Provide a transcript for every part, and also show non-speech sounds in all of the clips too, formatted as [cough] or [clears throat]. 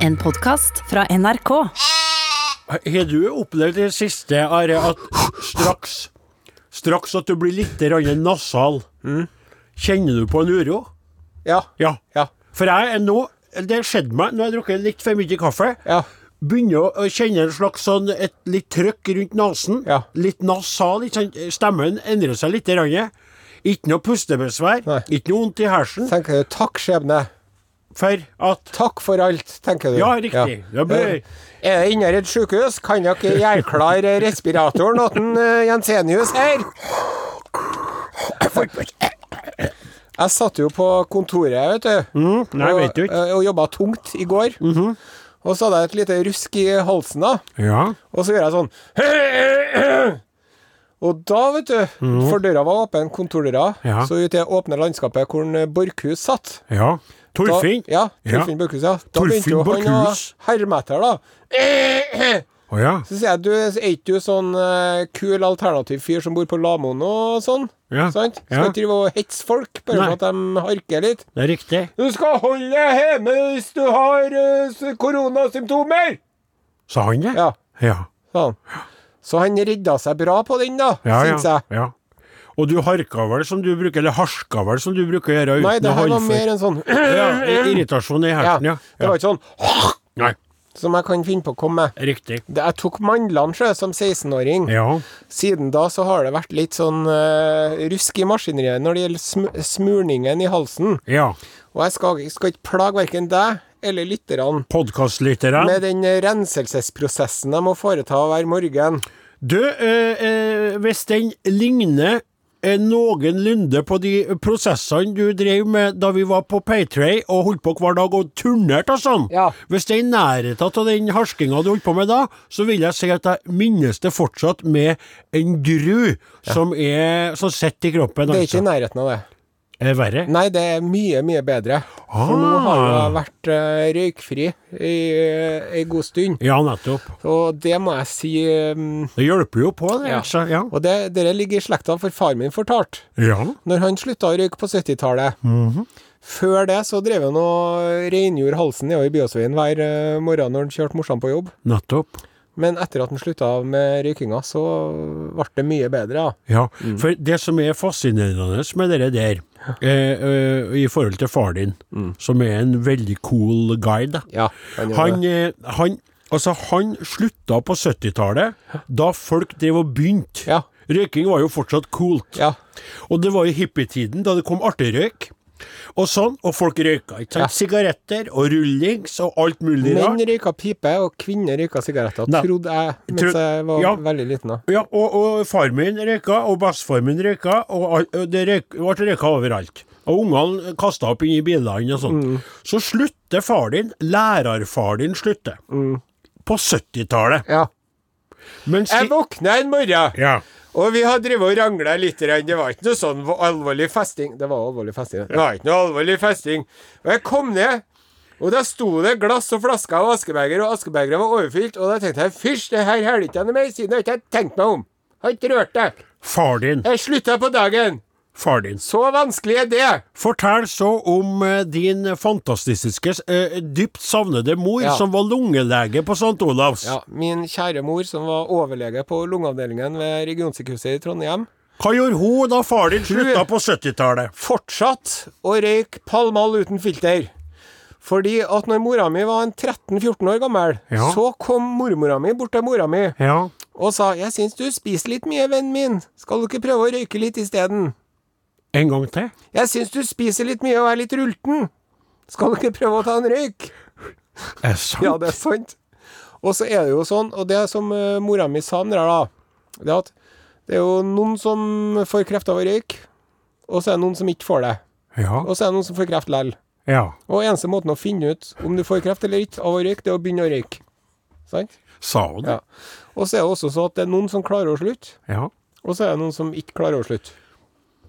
En podkast fra NRK. Har du opplevd det siste, Are, at straks Straks at du blir litt grann nasal, kjenner du på en uro? Mm. Ja. Ja. Ja. For jeg er nå Det skjedde meg når jeg har drukket litt for mye kaffe. Ja. Begynner å- å kjenne en slags sånn et litt trøkk rundt nesen. Ja. Litt nasal. Ikke sant? Stemmen endrer seg litt. Grann. Ikke noe pustebesvær. Nei. Ikke noe vondt i hersen. Tenker du, takk skjebne, For at takk for alt, tenker du. Ja, riktig. Det blir- Eh, Er jeg inne i et sykehus, kan dere gjøre klar respiratoren åt en, eh, Jensenius her? Jeg satt jo på kontoret, vet du. Mm, Nei, vet du og, ikke. Mm-hmm. eh, Og jobba tungt i går. Og så hadde jeg et lite rusk i halsen da. Ja. Og så gjør jeg sånn [clears throat] Og da, vet du, for døra var åpen, kontordøra, Mm. Ja. så ut i det åpne landskapet hvor en, eh, Borchhus satt ja. da- Torfinn? Ja, Ja. Torfinn Borkhus, ja. Da Torfinn begynte jo han å Borkhus. herme etter, da. Å ja. [clears throat] Så sier jeg, du, er ikke du sånn eh, kul alternativ fyr som bor på Lamoen og sånn? Ja. Sant? Skal Ja. ikke drive og hetse folk, bare Nei. for at de harker litt. Det er riktig. Du skal holde deg hjemme hvis du har eh, s- koronasymptomer! Sa han det? Ja, ja. sa han. Så han redda seg bra på den, da, Ja, syns ja, jeg. ja. Og du harka vel som du bruker, eller harska vel som du bruker å gjøre uten Nei, det å her holde var for. mer en sånn [clears throat] Ja, i- irritasjon i ja, hersen, ja. Det var ikke sånn [clears throat] Nei, som jeg kan finne på å komme med. riktig. Det- Jeg tok mandlene sjø som 16-åring. Ja. Siden da så har det vært litt sånn eh, rusk i maskineriet når det gjelder sm smurningen i halsen. ja. Og jeg skal, skal ikke plage verken deg eller lytterne Podkastlytterne. med den eh, renselsesprosessen de må foreta hver morgen. Du, eh, eh, hvis den ligner eh, noenlunde på de prosessene du drev med da vi var på Paytray og holdt på hver dag og turnerte og sånn, Ja. hvis det er i nærheten av den harskinga du holdt på med da, så vil jeg si at jeg minnes det fortsatt med en gru som er som sitter i kroppen. Det er ikke altså. i nærheten av det. Er verre? Nei, det er mye, mye bedre. For nå har jeg vært eh, røykfri i eh, ei god stund. Ja, nettopp. Og det må jeg si eh, Det hjelper jo på, det. Ja. Altså. Ja. Og det, dere ligger i slekta, for far min fortalte. ja. Når han slutta å røyke på 70-tallet Mhm. Før det så drev han og rengjorde halsen nedover i Byåsveien hver eh, morgen når han kjørte morsan på jobb. Nettopp. Men etter at han slutta med røykinga, så ble det mye bedre. Ja. Ja, Mm. for det som er fascinerende med det der, eh, eh, i forhold til far din, som er en veldig cool guy, da. Mm. Ja, han gjorde Han, eh, han, altså, han slutta på 70-tallet, da folk drev og begynte. Ja. Røyking var jo fortsatt coolt. Ja. Og det var i hippietiden, da det kom artigrøyk. Og sånn, og folk røyka. ikke sant? Ja. Sigaretter og rullings og alt mulig rart. Menn røyka pipe, og kvinner røyka sigaretter, Nei. trodde jeg Tro- mens jeg var Ja. veldig liten. da. Ja, og, og far min røyka, og bestefar min røyka, og al- og det røyk, ble røyka overalt. Og ungene kasta opp inni bilene og sånn. Mm. Så slutter far din, lærerfar din slutter, Mm. på 70-tallet. Ja. Mens Jeg de- våkna en morgen, ja. og vi hadde drevet og rangla litt. grann. Det var ikke noe sånn alvorlig festing. Det var alvorlig festing. Det var ikke noe alvorlig festing. Og jeg kom ned, og der sto det glass og flasker og askebeger, og askebegeret var overfylt, og da tenkte jeg fysj, det her holder ikke jeg noe mer, siden jeg ikke har tenkt meg om. Har ikke rørt det. Far din, Jeg slutta på dagen. far din. Så vanskelig er det. Fortell så om eh, din fantastiske, eh, dypt savnede mor, Ja. som var lungelege på St. Olavs. Ja, min kjære mor, som var overlege på lungeavdelingen ved regionsykehuset i Trondheim, Hva gjorde hun da far din slutta Hun- på 70-tallet? fortsatt å røyke palmal uten filter. Fordi at når mora mi var en 13-14 år gammel, Ja. så kom mormora mi bort til mora mi Ja. og sa 'Jeg syns du spiser litt mye, vennen min. Skal du ikke prøve å røyke litt isteden?' En gang til? 'Jeg syns du spiser litt mye og er litt rulten. Skal du ikke prøve å ta en røyk?' Er sant? Ja, det er sant. Og så er det jo sånn, og det som eh, mora mi sa om det der, da, det er at det er jo noen som får kreft av å røyke, og så er det noen som ikke får det. Ja. Og så er det noen som får kreft lell. ja. Og eneste måten å finne ut om du får kreft eller ikke av å røyke, det er å begynne å røyke. Sant? Sa hun det? Ja. Og så er det også sånn at det er noen som klarer å slutte, Ja. og så er det noen som ikke klarer å slutte.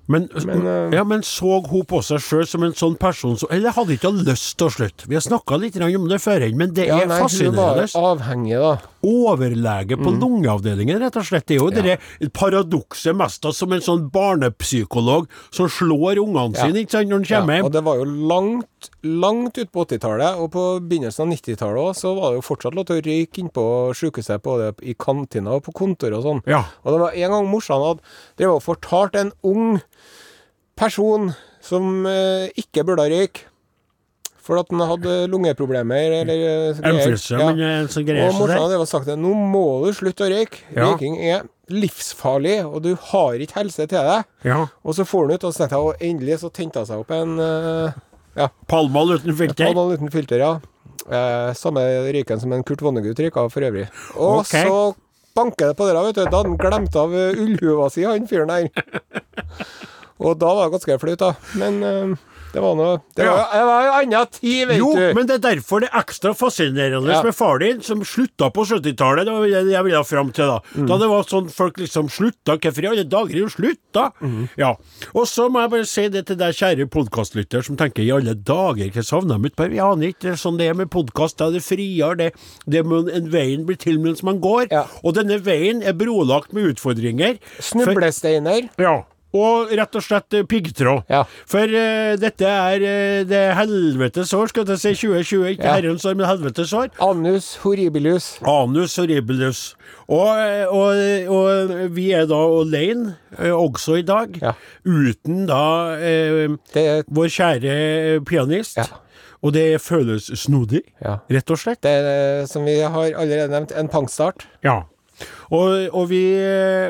Men, Men, eh, ja, men så hun på seg sjøl som en sånn person som Eller hadde ikke hun lyst til å slutte? Vi har snakka litt grann om det før, men det Ja, er nei, hun var Mm. fascinerende. avhengig, da. overlege på lungeavdelingen, rett og slett. Det er jo det der paradokset mest av som en sånn barnepsykolog som slår ungene Ja. sine ikke sant, når han kommer Ja, hjem. og det var jo langt, langt ut på 80-tallet, og på begynnelsen av 90-tallet òg, så var det jo fortsatt lov til å røyke innpå sjukehuset, både i kantina og på kontoret og sånn. Ja. Og det var en gang morsan hadde drevet og fortalt en ung person som eh, ikke burde røyke, for at han hadde lungeproblemer eller eh, greier. Emfilse, men eh, så greier Og seg morsan der. hadde drevet og sagt det. Nå må du slutte å røyke. Ja. Røyking er livsfarlig, og du har ikke helse til det. Ja. Og så for han ut, og så tenkte jeg, og endelig så tente hun seg opp en eh, ja, Palmal uten filter. Hadde en liten filter, ja. Eh, samme ryken som en Kurt Vonnegut røyka for øvrig. Og Ok. så banker det på døra, vet du. Da hadde han glemt av eh, ullhua si, han fyren [laughs] der. Og da var det ganske flaut, da. Men eh, det var noe Det var, Ja. det var jo anna tid, vet Jo, du. men det er derfor det er ekstra fascinerende Ja. med far din, som slutta på 70-tallet. Det var det jeg ville fram til da. Mm. Da det var sånn folk liksom slutta. Hvorfor i alle dager er jo slutta? Mm. Ja. Og så må jeg bare si det til deg, kjære podkastlytter, som tenker i alle dager, hva savner de utpå? Jeg aner ikke. Det er sånn det er med podkast. Da er det friere, det. det må, en veien blir til mens man går. Ja. Og denne veien er brolagt med utfordringer. For- Snublesteiner. ja. Og rett og slett eh, piggtråd. Ja. For eh, dette er eh, det helvetes år, skal jeg si. 2020. Ikke Ja. herrens år, men helvetes år. Anus horribilus. Anus horribilus. Og, eh, og, og vi er da alene, eh, også i dag, Ja. uten da eh, Det er vår kjære pianist. Ja. Og det føles snodig, Ja. rett og slett. Det er, som vi har allerede nevnt, en pangstart. Ja. Og, og vi,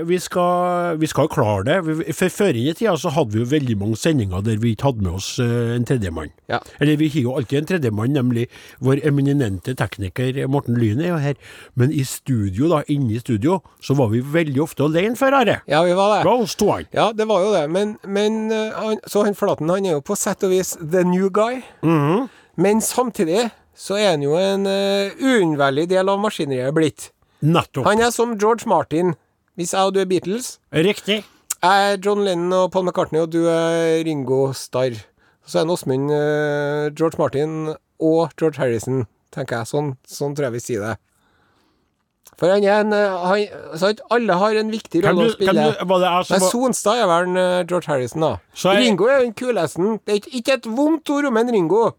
vi, skal, vi skal klare det. Vi- For Før i tida så hadde vi jo veldig mange sendinger der vi ikke hadde med oss eh, en tredjemann. Ja. Eller vi har jo alltid en tredjemann, nemlig vår eminente tekniker eh, Morten Lyn er jo her. Men i studio, da, inne i studio, så var vi veldig ofte alene før, Are. Ja, vi var det. Det var oss to, han. Ja, det var jo det. Men, men eh, han, så han Flaten han er jo på sett og vis the new guy. Mhm. Men samtidig så er han jo en eh, uunnværlig del av maskineriet blitt. Nettopp. Han er som George Martin. Hvis jeg og du er Beatles, Riktig. jeg er John Lennon og Paul McCartney, og du er Ringo Starr. Så er han Åsmund, eh, George Martin og George Harrison, tenker jeg. Sånn, sånn tror jeg vi sier det. For han er en eh, han, sant? Alle har en viktig Kan du, rolle å spille. kan du, var det jeg som Nei, var Sonstad er vel en, eh, George Harrison, da. Så jeg- Ringo er jo den kuleste. Det er ikke, ikke et vondt ord om en Ringo.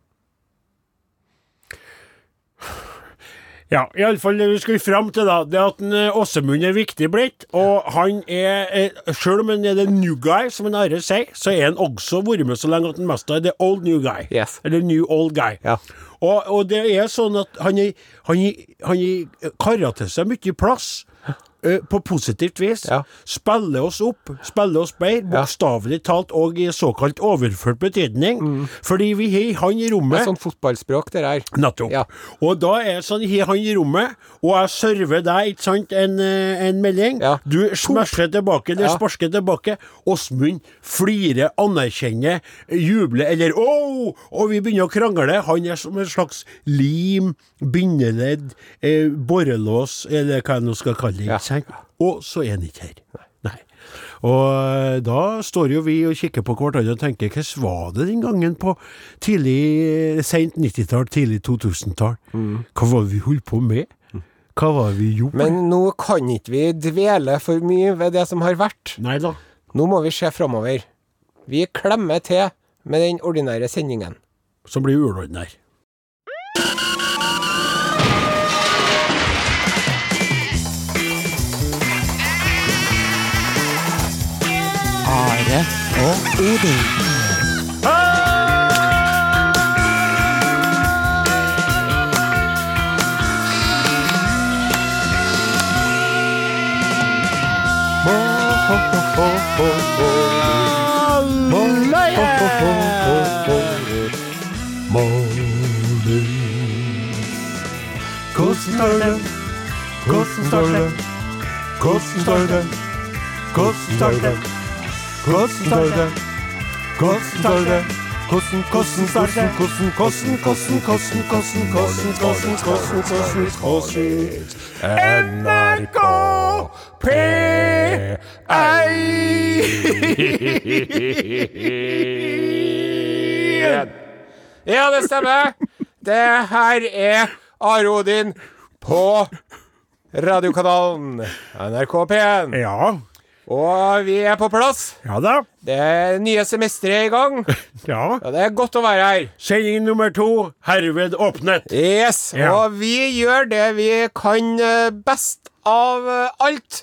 Ja, iallfall det vi skulle fram til, da, det er at en, eh, Åsemund er viktig blitt. Og han er, eh, sjøl om han er the new guy, som en Are sier, så er han også vært med så lenge at han mest er the old new guy. Yes. Eller new old guy. Ja. Og, og det er sånn at han, er- han, er- han er- karrer til seg mye plass. eh, På positivt vis. Ja. Spiller oss opp, spiller oss bedre, Ja. bokstavelig talt og i såkalt overført betydning. Fordi vi har han i Mm. Det er rommet sånn fotballspråk, det der. Nettopp. Ja. Og da er det sånn, har han i rommet, og jeg server deg ikke sant, en, eh, en melding. Ja. [laughs] Du smasher tilbake, eller Ja. sparker tilbake. Åsmund flirer, anerkjenner, jubler eller åh! Og vi begynner å krangle. Han er som en slags lim, bindeledd, eh, borrelås, eller hva jeg nå skal kalle det. Ja. ikke sant? Og så er han ikke her. Nei. Og eh, da står jo vi og kikker på hverandre og tenker hvordan var det den gangen på tidlig, seint 90-tall, tidlig 2000-tall? Hva var det vi holdt på med? Hva var det vi gjorde? Mm. Men nå kan ikke vi dvele for mye ved det som har vært. Nei da. Nå må vi se framover. Vi klemmer til med den ordinære sendingen. Som blir uordinær. Are og Odin. Hvordan står det? Hvordan står det? Hvordan står det? Hvordan står det? Hvordan står det? Hvordan står det? Hvordan, hvordan står det? Hvordan, hvordan, hvordan, hvordan, hvordan, hvordan, hvordan, hvordan, hvordan, hvordan NRK [laughs] P1 Ja, det stemmer. Det her er Are Odin på radiokanalen NRK P1. Ja. Og vi er på plass. Ja da. Det er nye semesteret i gang. Ja. Og det er godt å være her. Sending nummer to herved åpnet. Yes. Ja. Og vi gjør det vi kan eh, best av eh, alt.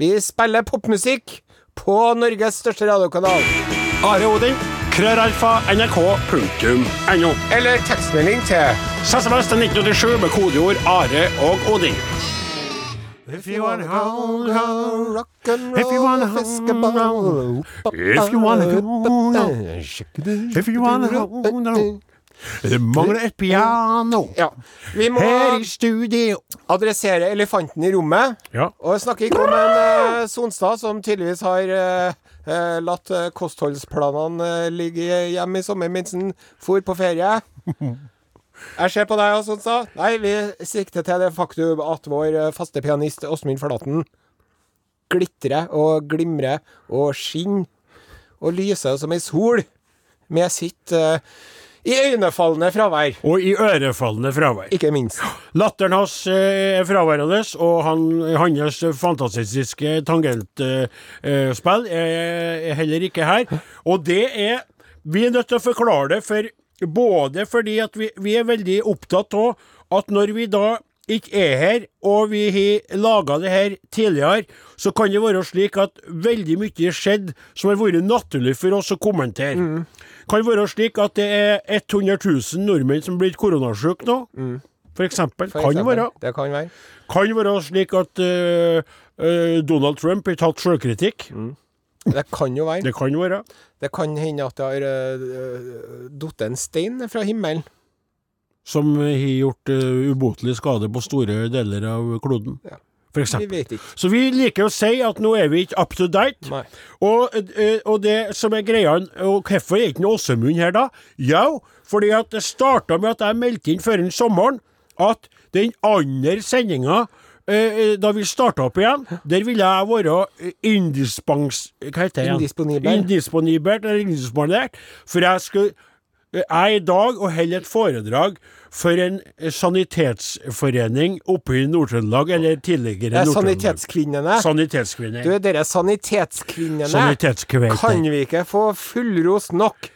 Vi spiller popmusikk på Norges største radiokanal. Are Odin, krøralfa, nrk.no. Eller tekstmelding til SMS til 1987 med kodeord Are og Odin. If you wanna hold, hold. If you wanna hold, fiskeball If you wanna hold, hold. If you wanna hold, hold. Det mangler et piano. Ja. Vi må Her i studio. adressere elefanten i rommet. Ja. Og jeg snakker ikke om en eh, Sonstad som tydeligvis har eh, eh, latt eh, kostholdsplanene eh, ligge hjemme i sommer mens han for på ferie. [laughs] Jeg ser på deg, ja, Sonstad. Nei, vi sikter til det faktum at vår eh, faste pianist Åsmund Flaten glitrer og glimrer og skinner og lyser som ei sol med sitt eh, iøynefallende fravær. Og i ørefallende fravær. Ikke minst. Latteren hans eh, er fraværende, og han, hans fantastiske tangentspill eh, spill er heller ikke her. Og det er Vi er nødt til å forklare det, for både fordi at vi, vi er veldig opptatt av at når vi da ikke er her, og vi har laga det her tidligere, så kan det være slik at veldig mye skjedde som har vært naturlig for oss å kommentere. Kan være slik at det er 100 000 nordmenn som blir koronasyke nå. For eksempel. Mm. for Kan eksempel. være. Det kan være. Kan være slik at øh, øh, Donald Trump har tatt sjølkritikk. Mm. Det kan jo være. Det kan være. Det kan hende at det har uh, datt en stein fra himmelen. Som har gjort øh, ubotelig skade på store deler av kloden. Ja. For Vi eksempel. vet ikke. Så vi liker å si at nå er vi ikke up to date. Nei. Og, øh, og det som er greia Og hvorfor er ikke Åsemund her, da? Jo, fordi at det starta med at jeg meldte inn før sommeren at den andre sendinga øh, øh, da vi starta opp igjen, der ville jeg være øh, indispens... Hva heter det? igjen? Indisponibel. Indisponibert eller indisponert. For jeg skulle eh, jeg er i dag og holder et foredrag for en sanitetsforening oppe i Nord-Trøndelag, eller Det tidligere er Nord-Trøndelag. sanitetskvinnene. Sanitetskvinner. Du, dere sanitetskvinnene, Sanitetskvinner. kan vi ikke få fullros nok?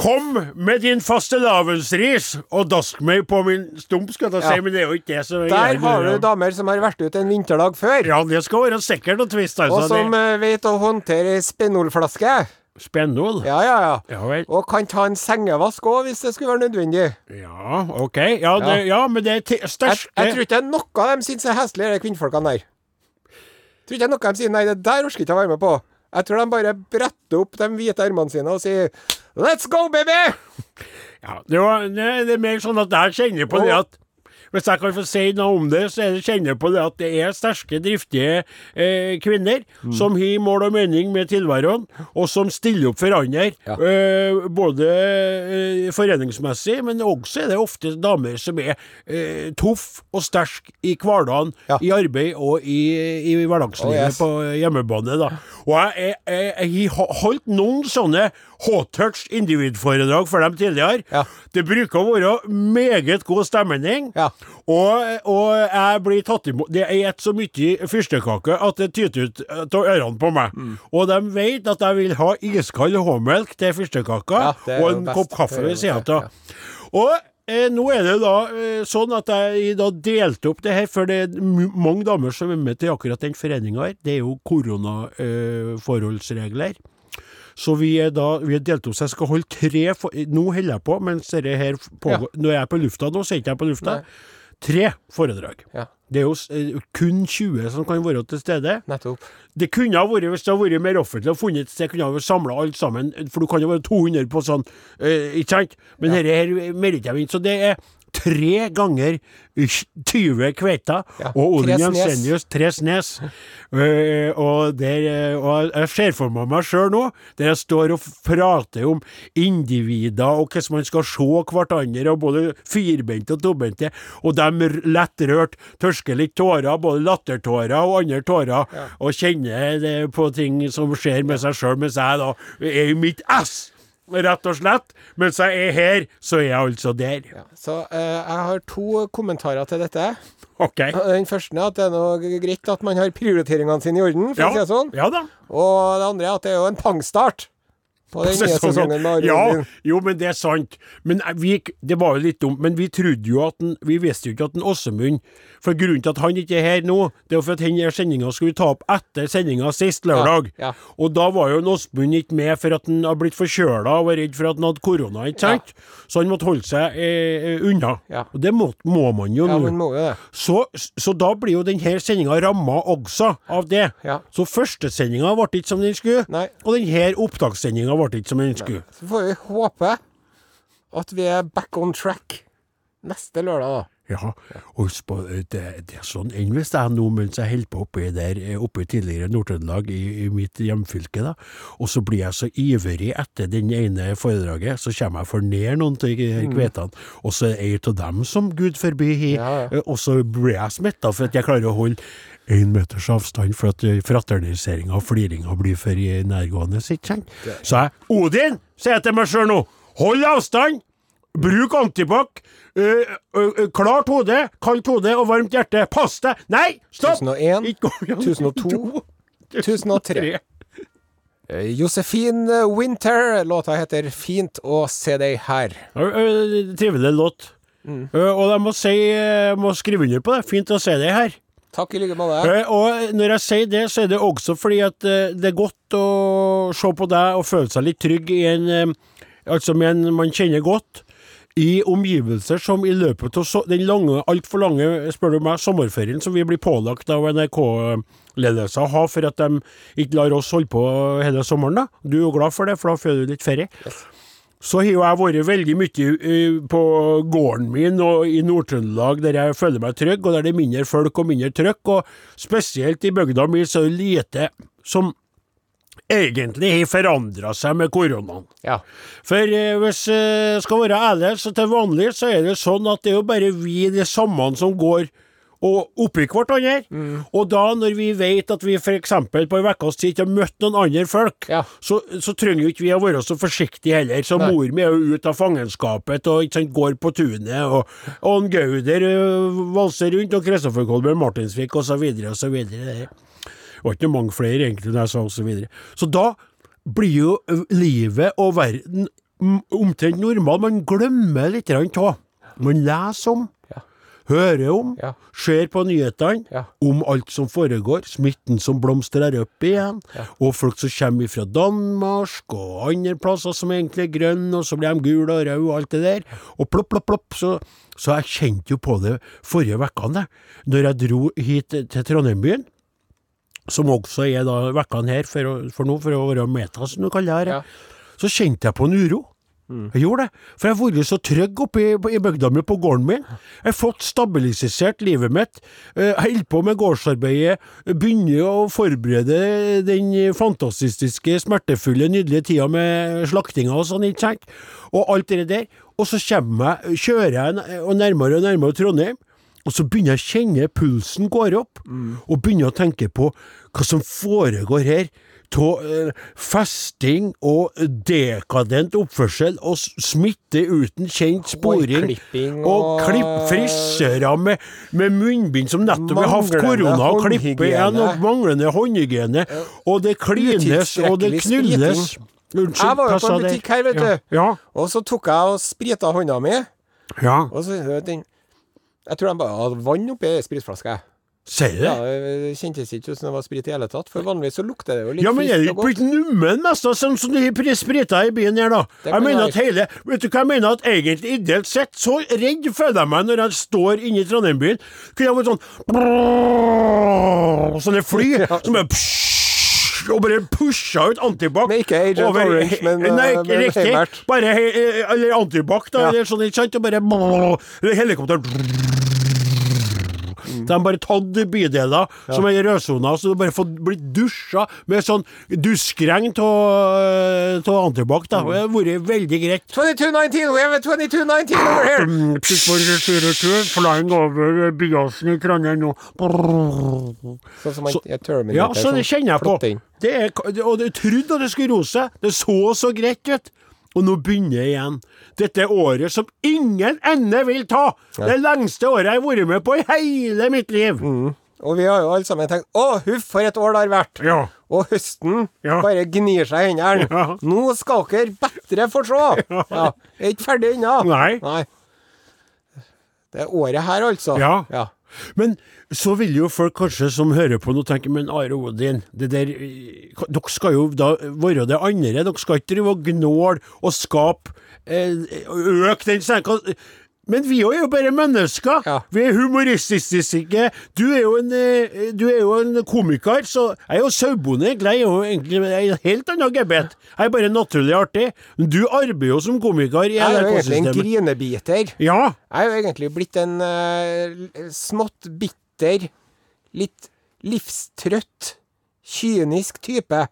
Kom med din fastelavnsris og dask meg på min stump, skal jeg si, Ja. men det er jo ikke det som er Der greia. har du damer som har vært ute en vinterdag før, Ja, det skal være sikkert og tvist, altså. og som det... eh, vet å håndtere ei spenolflaske. Spennol? Ja, ja, ja. Ja vel. Og kan ta en sengevask òg, hvis det skulle være nødvendig. Ja, OK. Ja, det, ja men det er ti- Jeg, største jeg tror ikke det er noe de syns er heslig, de kvinnfolkene der. Jeg tror ikke det er noe de sier nei, det der orker jeg ikke å være med på. Jeg tror de bare bretter opp de hvite armene sine og sier Let's go, baby! Ja, det, var, nei, det er mer sånn at jeg kjenner på det Og- at hvis jeg kan få si noe om det, så er det kjenner jeg på det at det er sterke, driftige eh, kvinner Mm. som har mål og mening med tilværelsen, og som stiller opp for andre. Ja. Eh, både eh, foreningsmessig, men også er det ofte damer som er eh, tøff og sterk i hverdagen, Ja. i arbeid og i, i hverdagslivet Å, yes. på hjemmebane. da. Og jeg, jeg, jeg, jeg har holdt noen sånne hot-touch individforedrag for dem tidligere. Ja. Det bruker å være meget god stemning. Ja. Og, og jeg blir tatt imot Det er et så mye fyrstekake at det tyter ut eh, av ørene på meg. Mm. Og de vet at jeg vil ha iskald håmelk til fyrstekaka Ja, det er og jo en best. kopp kaffe Det er jo ved sida det, ja. av. Og eh, nå er det da eh, sånn at jeg da delte opp det her, for det er m- mange damer som er med til akkurat den foreninga her. Det er jo koronaforholdsregler. så vi er da vi er delt opp, så jeg skal holde tre for, Nå holder jeg på, mens dette her pågår Når jeg er på lufta nå, så er ikke jeg på lufta. Tre foredrag. Ja, Det er jo s- eh, kun 20 som kan være til stede. nettopp. Det kunne ha vært, hvis det hadde vært mer offentlig og funnet et sted, kunne ha samla alt sammen, for du kan jo være 200 på sånn, eh, ikke sant? Men dette her melder jeg meg inn, så det er tre ganger 20 kveiter, Ja, og Odin tre snes. Jensenius tre snes. Eh, og, der, eh, og jeg ser for meg meg sjøl nå, der jeg står og prater om individer, og hvordan man skal se hverandre, og både firbente og tobente, og de lett rørt tørsker litt tårer, både lattertårer og andre tårer, eh, og kjenner det på ting som skjer med seg sjøl, mens jeg da er i mitt ess. rett og slett. Mens jeg er her, så er jeg altså der. Ja, så eh, jeg har to kommentarer til dette. OK. Den første er at det er noe greit at man har prioriteringene sine i orden, for Ja, å si det sånn. ja da. Og det andre er at det er jo en pangstart på den nye Sesongen. sesongen med Are sånn. Ja, Odin. jo, men det er sant. Men jeg- vi, det var jo litt dumt, men vi trodde jo at den, Vi visste jo ikke at den Åsemund For grunnen til at han ikke er her nå, det er jo for at denne sendinga skulle vi ta opp etter sendinga sist lørdag. Ja, ja. Og da var jo en Åsmund ikke med for at han har blitt forkjøla og var redd for at han hadde korona, ikke sant? Så han måtte holde seg eh, eh, unna. Ja. Og det må, må man jo Ja, nå. man må jo det. Så, så da blir jo denne sendinga ramma også av det. Ja. Så førstesendinga ble ikke som den skulle, Nei. og denne opptakssendinga ble ikke som den skulle. Så får vi håpe at vi er back on track neste lørdag, da. Ja, og husk på, eh, det, det er sånn enn hvis jeg nå mens jeg holder på oppe i der, eh, oppe i tidligere Nord-Trøndelag, i, i mitt hjemfylke, da, og så blir jeg så ivrig etter den ene foredraget, så kommer jeg for ned noen av de her kvetene, og så er det av dem som Gud forby har, Mm. Ja, ja. eh, og så blir jeg smitta for at jeg klarer å holde én meters avstand for at fraterniseringa og fliringa blir for eh, nærgående, ikke sant? Så jeg, Odin, sier jeg til meg sjøl nå, hold avstand! Bruk antibac. øh, øh, øh, klart hode, kaldt hode og varmt hjerte. Pass deg! Nei, stopp! 1001, Ikke gå igjen. 1002, 1003. Tre. Eh, Josefine Winter, låta heter 'Fint å se deg her'. Ja, øh, Trivelig låt. Øh, og jeg må, si, jeg må skrive under på det. Fint å se deg her. Takk i like måte. Øh, og når jeg sier det, så er det også fordi at øh, det er godt å se på deg og føle seg litt trygg i en øh, Altså med en man kjenner godt. I omgivelser som i løpet av so den lange, altfor lange, spør du meg, sommerferien som vi blir pålagt av NRK-ledelsen å ha for at de ikke lar oss holde på hele sommeren, da. Du er jo glad for det, for da får du litt ferie. Så har jo jeg vært veldig mye eh, på gården min og i Nord-Trøndelag, der jeg føler meg trygg, og der det er mindre folk og mindre trøkk, og spesielt i bygda mi så er det lite som egentlig har forandra seg med koronaen. Ja. For eh, hvis jeg skal være ærlig, så til vanlig så er det sånn at det er jo bare vi de samme som går og oppi hverandre. Og da, når vi vet at vi f.eks. på en ukes tid ikke har møtt noen andre folk, Ja. så, så trenger jo ikke vi å være så forsiktige heller. Så mor mi er jo ute av fangenskapet og ikke sant, går på tunet, og, og en Gauder ø, valser rundt, og Kristoffer Kolbjørn Martinsvik og så videre og så videre. Det var ikke noe mange flere egentlig når jeg sa og så videre. Så da blir jo ø, livet og verden m- omtrent normal. Man glemmer litt av. Man leser om, Ja. hører om, Ja. ser på nyhetene Ja. om alt som foregår, smitten som blomstrer opp igjen, og folk som kommer fra Danmark og andre plasser som egentlig er grønne, og så blir de gule og røde og alt det der, og plopp, plopp, plopp, så, så jeg kjente jo på det forrige vekkene, jeg, når jeg dro hit til Trondheimbyen, som også er da vekkene her for, å, for nå, for å være meta, som du kaller det her, Ja. så kjente jeg på en uro. Jeg gjorde det, for jeg har vært så trygg oppe i, i bygda mi, på gården min. Jeg har fått stabilisert livet mitt. Eh, Jeg holder på med gårdsarbeidet, begynner å forberede den fantastiske, smertefulle, nydelige tida med slaktinga og sånn, ikke sant? Og alt det der. Og så kommer jeg, kjører jeg n- og nærmere og nærmere Trondheim. Og så begynner jeg å kjenne pulsen går opp, Mm. og begynner å tenke på hva som foregår her. Av festing og dekadent oppførsel og s- smitte uten kjent sporing. Hårklipping og og- klipp frisører med, med munnbind som nettopp har hatt Manglende korona, og klipper igjen, og håndhygiene. manglende håndhygiene. Og det klines, og det Utilstrekkelig knulles. Unnskyld, Jeg var jo hva på sa en det? butikk her, vet Ja. du. Og så tok jeg og sprita hånda mi, Ja. ja. og så hørte den Jeg tror de bare hadde vann oppi ei spritflaske. jeg. Sier du det? Ja, det kjentes ikke ut som det var sprit i hele tatt, for vanligvis så lukter det jo litt Ja, men er friskt det og ikke blitt nummen mest av sånn som de har pr- sprita i byen her, da? Det Jeg kan mener være. at hele Vet du hva jeg mener? At egentlig, ideelt sett, så redd føler jeg meg når jeg står inne i Trondheim-byen. Kunne jeg vært sånn brrrr, Sånne fly [laughs] som bare pssst, og bare pusha ut antibac Men ikke Agent Orange, men, Nei, eh, ikke men riktig. Heimert. Bare he, eh, Eller antibac, da, Ja. eller sånn, ikke sant? Og bare brrrr, eller Helikopter De har bare tatt bydeler som er i rødsona, så du bare får blitt dusja med sånn duskregn av antibac. da. Det har vært veldig greit. 2219, we have a 2219 over here! Flying over Byåsen i Trondheim nå. Sånn som man Så- ja, Terminator. Ja, så det sånn kjenner jeg på. plotting. Det er, og det trodde at det skulle rose. Det så så greit ut. Og nå begynner jeg igjen. Dette året som ingen ende vil ta! Det lengste året jeg har vært med på i hele mitt liv! Og vi har jo alle sammen tenkt Å, huff, for et år det har vært! Ja. Og høsten Ja. bare gnir seg i hendene. Ja. Nå skal dere bedre [laughs] få se! Ja. Jeg er ikke ferdig ennå. Nei. Det er året her, altså. Ja. ja. Men så vil jo folk kanskje som hører på nå tenke, men Are Odin, det der, eh, ka- dere skal jo da være det andre, dere skal ikke drive og gnåle og skape, eh, øke den senka. Men vi òg er jo bare mennesker. Ja. Vi er humoristiske. Du er jo en, eh, du er jo en komiker, så jeg er jo sauebonde, egentlig. Jeg er jo egentlig jeg er en helt annen gebet. Jeg er bare naturlig artig. Men du arbeider jo som komiker i Jeg er jo egentlig en NRK-systemet. grinebiter. Ja. Jeg er jo egentlig blitt en eh, smått bitter, litt livstrøtt, kynisk [laughs] type.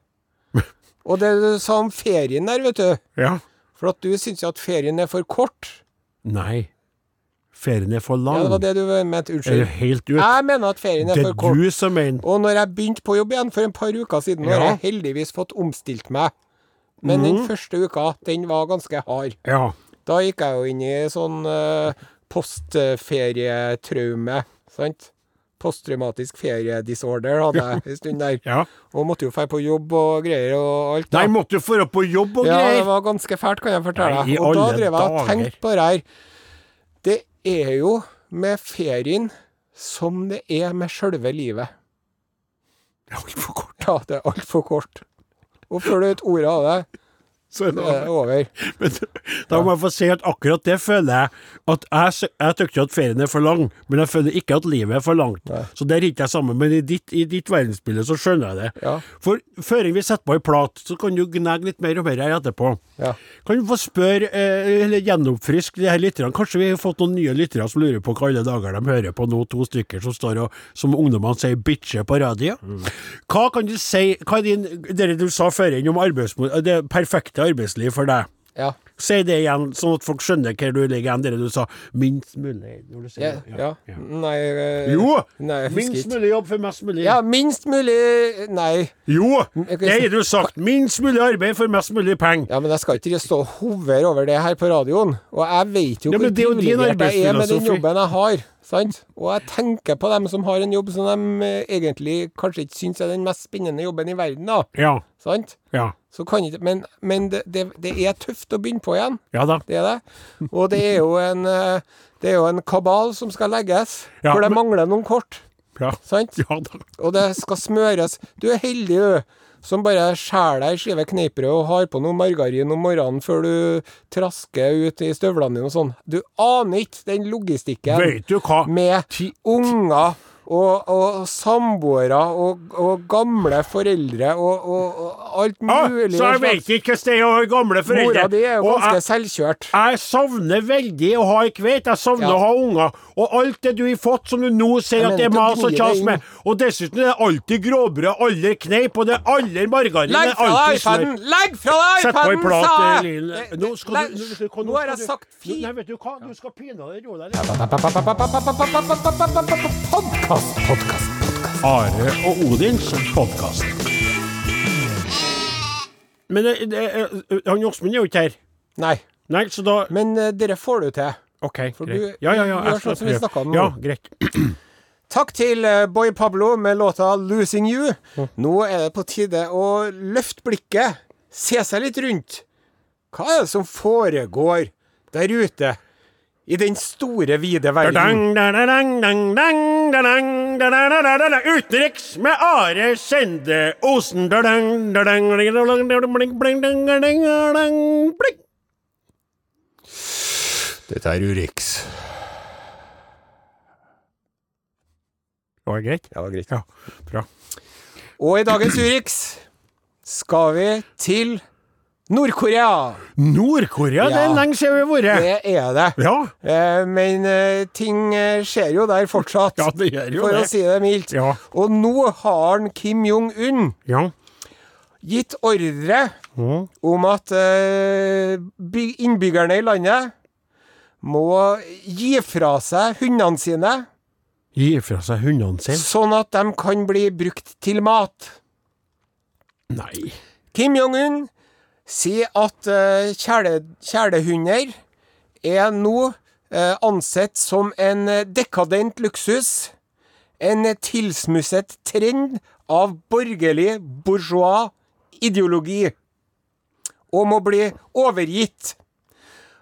Og det du sa om ferien der, vet du ja. For at du syns jo at ferien er for kort. Nei. Ferien er for lang. Ja, det var det du mente. Ah. er jo Unnskyld. helt ut. Jeg mener at ferien Det er er for kort. du som mener Og når jeg begynte på jobb igjen for en par uker siden, Ja. Mm. har jeg heldigvis fått omstilt meg. Men den første uka, den var ganske hard. Ja. Da gikk jeg jo inn i sånn eh, postferietraume, sant? Posttraumatisk feriedisorder hadde jeg en stund der. ja. Og måtte jo dra på jobb og greier og alt. da. Nei, måtte jo få opp på jobb og ja, det greier! var ganske fælt, kan jeg fortelle Nei, i deg. Og da alle drev jeg og dager. tenkte på det her. Det er jo med ferien som det er med sjølve livet. [laughs] Ja, det var kort. Ja, det er altfor kort. Og før du vet ordet av det, Så det det er var- det over. Men da må jeg få si at akkurat det føler jeg. At jeg, sy- jeg tykker at ferien er for lang, men jeg føler ikke at livet er for langt. Så der er ikke jeg sammen, men i ditt, i ditt verdensbilde så skjønner jeg det. Ja. For før vi setter på ei plat, så kan du gnage litt mer og mer her etterpå. Ja. Kan du få spørre, eh, eller gjenoppfriske de her lytterne, kanskje vi har fått noen nye lyttere som lurer på hva alle dager de hører på nå, to stykker som står og, som ungdommene sier, bitcher på radio. Hva kan du si, hva er din, det du sa før inn om arbeidsmo- det perfekte arbeidsliv for deg? Ja. Si det igjen, sånn at folk skjønner hvor du ligger hen, det du sa, minst mulig, når du sier Ja. det. ja. Nei eh, Jo! Nei, jeg husker minst ikke. mulig jobb for mest mulig. Ja, minst mulig Nei. Jo! jeg kan Det si- har du sagt. Minst mulig arbeid for mest mulig penger. Ja, men jeg skal ikke stå og hovre over det her på radioen. Og jeg vet jo Ja, hvor men det er jo din privilegert jeg er med den arbeidsfilosofi. jobben jeg har. Sant? Og jeg tenker på dem som har en jobb som de eh, egentlig kanskje ikke syns er den mest spennende jobben i verden, da. Ja. Sant? Ja. Så kan ikke Men, men det, det, det er tøft å begynne på igjen. Ja da. Det er det. Og det er jo en, eh, det er jo en kabal som skal legges, Ja, for det men- mangler noen kort. Ja. Sant? Ja da. Og det skal smøres. Du er heldig, du, som bare skjærer deg ei skive kneippbrød og har på noe margarin om morgenen før du trasker ut i støvlene dine og sånn. Du aner ikke den logistikken Vet du hva? med unger og, og samboere og, og gamle foreldre og, og, og alt Ja, Ah, mulig. så jeg slags. vet ikke hvordan det er å ha gamle foreldre. Mora di er jo Og ganske jeg, selvkjørt. jeg savner veldig å ha ei kveit. Jeg savner Ja. å ha unger. Og alt det du har fått som du nå sier Jeg at det er mener, du mas og gnir kjas deg med. Og dessuten er det alltid gråbrød, aller kneip, og det er aller margarin. Legg det er fra deg alltid smør. iPaden! Legg fra deg Sett på ei iPaden, plat, sa eh, jeg! Lill. Det- det- Nå skal du- nå- vet du hva, Nå har jeg skal du- sagt fint. Nei, vet du hva, du skal pinadø roe deg litt. Podkast, podkast. Are og Odins podkast. Men det, det, eh, han Åsmund er jo ikke her. Nei, Nei, så da men eh, dere får det til. OK, For greit. du- ja, ja, ja, du jeg gjør skal sånn som vi prøve. snakket om nå. Ja, greit. Takk til eh, Boy Pablo med låta 'Losing You'. Mm. Nå er det på tide å løfte blikket, se seg litt rundt. Hva er det som foregår der ute i den store, vide verden? Dang, dang, dang, dang, dang, dang, dang, dang, dang, dang, dang. Utenriks med Are Sende Osen. Dang, dang, dang, dang, dang, dang, bling, bling, dang, dang, dang, dang, bling. Dette er Urix. Det var greit. Ja, det var greit. Ja, bra. Og i dagens Urix skal vi til Nord-Korea. Nord-Korea, det Ja. er lenge siden vi har vært. Det er det. Ja. Eh, Men eh, ting eh, skjer jo der [laughs] fortsatt, ja, det gjør jo for å det. si det mildt. Ja. Og nå har han Kim Jong-un Ja. gitt ordre Mm. om at eh, by- innbyggerne i landet må gi fra seg hundene sine, Gi fra seg hundene sine? sånn at de kan bli brukt til mat. Nei. Kim Jong-un Si at eh, kjæle, kjælehunder er nå eh, ansett som en eh, dekadent luksus. En tilsmusset trend av borgerlig bourgeois ideologi. Og må bli overgitt.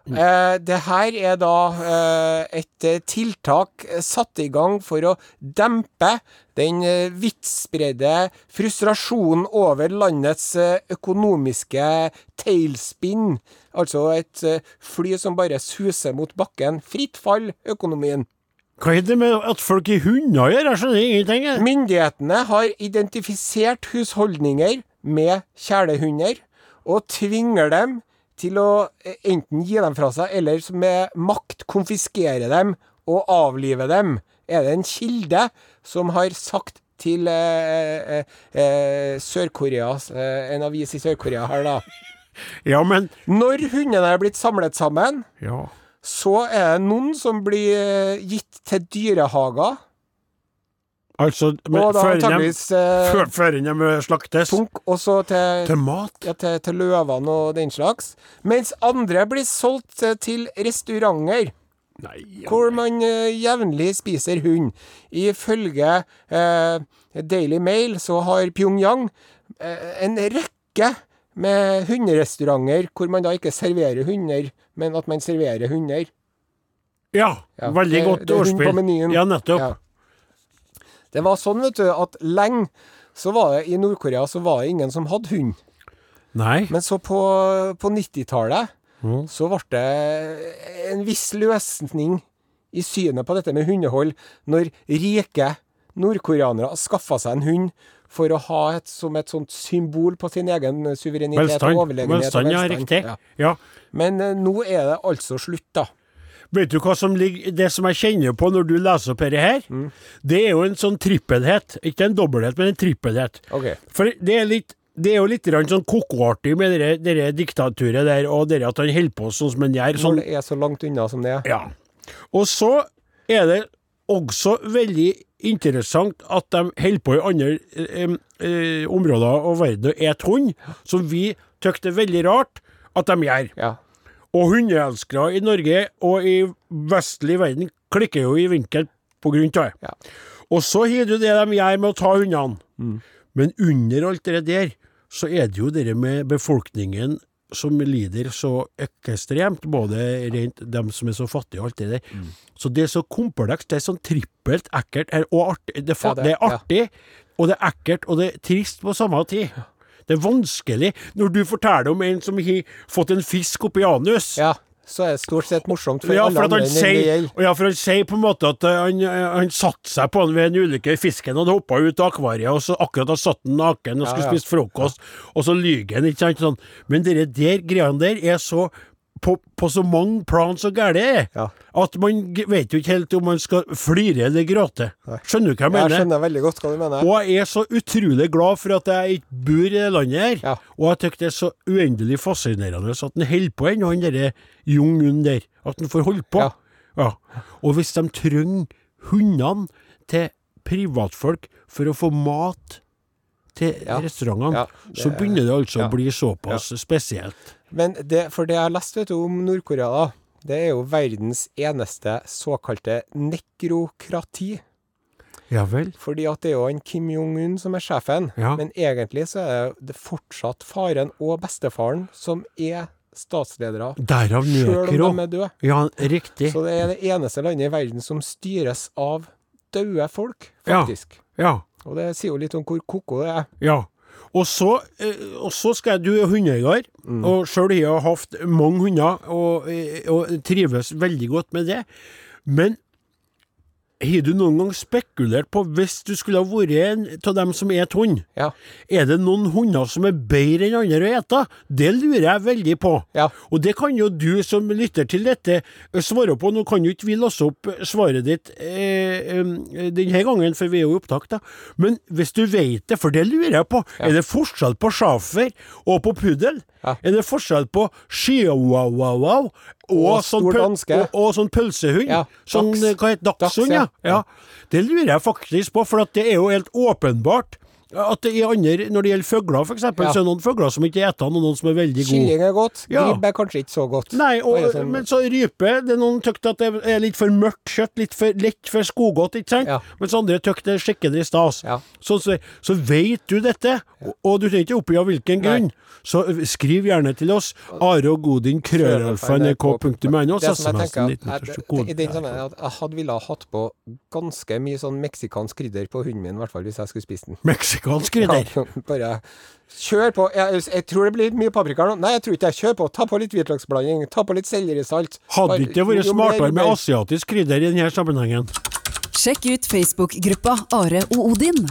Eh, det her er da eh, et eh, tiltak eh, satt i gang for å dempe den eh, vidtspredde frustrasjonen over landets eh, økonomiske tailspin. Altså et eh, fly som bare suser mot bakken. Fritt fall, økonomien. Hva er det med at folk er hunder gjør? Jeg skjønner ingenting. jeg. Myndighetene har identifisert husholdninger med kjælehunder og tvinger dem til å eh, enten gi dem fra seg, eller som med makt konfiskere dem og avlive dem. Er det en kilde som har sagt til eh, eh, eh, Sør-Koreas eh, En avis i Sør-Korea her, da. Ja, men Når hundene er blitt samlet sammen, ja. så er det noen som blir eh, gitt til dyrehager. Altså, men, Og da før de, antakeligvis eh, før, før de slaktes punk, og så til til mat? ja, til, til løvene og den slags. Mens andre blir solgt eh, til restauranter, Nei, ja. hvor man eh, jevnlig spiser hund. Ifølge eh, Daily Mail så har Pyongyang eh, en rekke med hunderestauranter hvor man da ikke serverer hunder, men at man serverer hunder. ja, Ja, veldig det- godt det er hund på ordspill. menyen. Ja, nettopp. Ja. Det var sånn, vet du, at lenge så var det i Nord-Korea så var det ingen som hadde hund. Nei. Men så på, på 90-tallet Mm. så ble det en viss løsning i synet på dette med hundehold, når rike nordkoreanere skaffa seg en hund for å ha et, som et sånt symbol på sin egen suverenitet Velstand. og overlegenhet. og Velstand, ja, riktig. Ja. Ja. Men eh, nå er det altså slutt, da. Vet du hva som ligger Det som jeg kjenner på når du leser opp dette her, Mm. det er jo en sånn trippelhet. Ikke en dobbelthet, men en trippelhet. Ok. For det er litt det er jo litt grann sånn kokoartig med det der diktaturet der, og det at han holder på sånn som han gjør. Når Sånn, det er så langt unna som det er. ja. Og så er det også veldig interessant at de holder på i andre eh, eh, områder av verden og et hund, som vi tykker det er veldig rart at de gjør. Ja. Og hundeelskere i Norge og i vestlig verden klikker jo i vinkel på grunn av det. Ja. Mm. Og så har du det de gjør med å ta hundene. Men under alt det der, så er det jo det med befolkningen som lider så ekstremt, både rent dem som er så fattige og alt det der. Mm. Så det er så komplekst, det er sånn trippelt ekkelt er- og artig. Det, er fa Ja, det- det er ja. artig, og det er ekkelt, og det er trist på samme tid. Det er vanskelig når du forteller om en som har fått en fisk oppi anus. ja. Så er det stort sett morsomt for Ja, alle for at andre han enn det sier, gjelder. ja, for han sier på en måte at eh, han, eh, han satte seg på han ved en ulykke. Fisken hadde hoppa ut av akvariet, og så akkurat da satt han naken og skulle ja. spise frokost, og så lyver han, ikke sant? Sånn. Men dere der greiene der er så på, på så mange plan så gære det er, Ja. at man g- vet jo ikke helt om man skal flire eller gråte. Skjønner du hva jeg Jeg mener? skjønner veldig godt hva du mener. Og jeg er så utrolig glad for at jeg ikke bor i det landet her, Ja. og jeg tykker det er så uendelig fascinerende at han holder på ennå, han derre Jung-un der. At han får holde på. Ja. Ja. Og hvis de trenger hundene til privatfolk for å få mat til Ja. restaurantene, Ja, det så er- begynner det altså ja. å bli såpass spesielt. Men det, for det jeg har lest vet du, om Nord-Korea, da, det er jo verdens eneste såkalte nekrokrati. Ja vel. Fordi at det er jo en Kim Jong-un som er sjefen, Ja. men egentlig så er det fortsatt faren og bestefaren som er statsledere, Derav sjøl nøkro. om de er døde. Ja, riktig. Så det er det eneste landet i verden som styres av døde folk, Ja. faktisk. Ja. Og det sier jo litt om hvor ko-ko det er. Ja. Og så, eh, og så skal jeg, du er hundeeier, og sjøl har jeg hatt mange hunder og, eh, og trives veldig godt med det. Men har du noen gang spekulert på, hvis du skulle ha vært en av dem som et hund, Ja. er det noen hunder som er bedre enn andre å ete? Det lurer jeg veldig på. Ja. Og det kan jo du som lytter til dette eh, svare på. Nå kan jo ikke vi låse opp eh, svaret ditt eh, eh, denne gangen, for vi er jo i opptak, da. Men hvis du vet det, for det lurer jeg på, er det forskjell på schæfer og på puddel? Ja. Er det forskjell på chihuahua og, Og sånn stor pøl- danske. og, og sånn pølsehund? Ja, Sånn, dachs. eh, hva heter det? Dachs, Dagshund, ja. ja. ja. Det lurer jeg faktisk på, for at det er jo helt åpenbart At det er andre, når det gjelder fugler, f.eks., Ja. så er det noen fugler som ikke eter den, og noen som er veldig gode. Kylling er godt. Ja. Ribbe er kanskje ikke så godt. Nei, Bare og, sånn- men så rype Det er noen tykt at det er litt for mørkt kjøtt, litt for lett for skogodt, ikke sant? Ja. Mens andre tykt det er skikkelig stas. Ja. Så, så, så vet du dette, og, og du trenger ikke oppgi av hvilken Nei. grunn, så eh, skriv gjerne til oss. Are og Godin, krøralfa, nrk.no, Det som jeg SMS-en tenker, er, det- i den sammenheng er at jeg hadde ville ha hatt på ganske mye sånn meksikansk krydder på hunden min, i hvert fall hvis jeg skulle spist den. Meksikansk krydder. [laughs] Kan- Bare kjør på. Jeg, jeg tror det blir mye paprika nå. Nei, jeg tror ikke jeg kjør på. Ta på litt hvitløksblanding. Ta på litt sellerisalt. Hadde ikke det vært Jo, men det er smartere med mer- asiatisk krydder i denne sammenhengen? Sjekk ut Facebook-gruppa Are og Odin.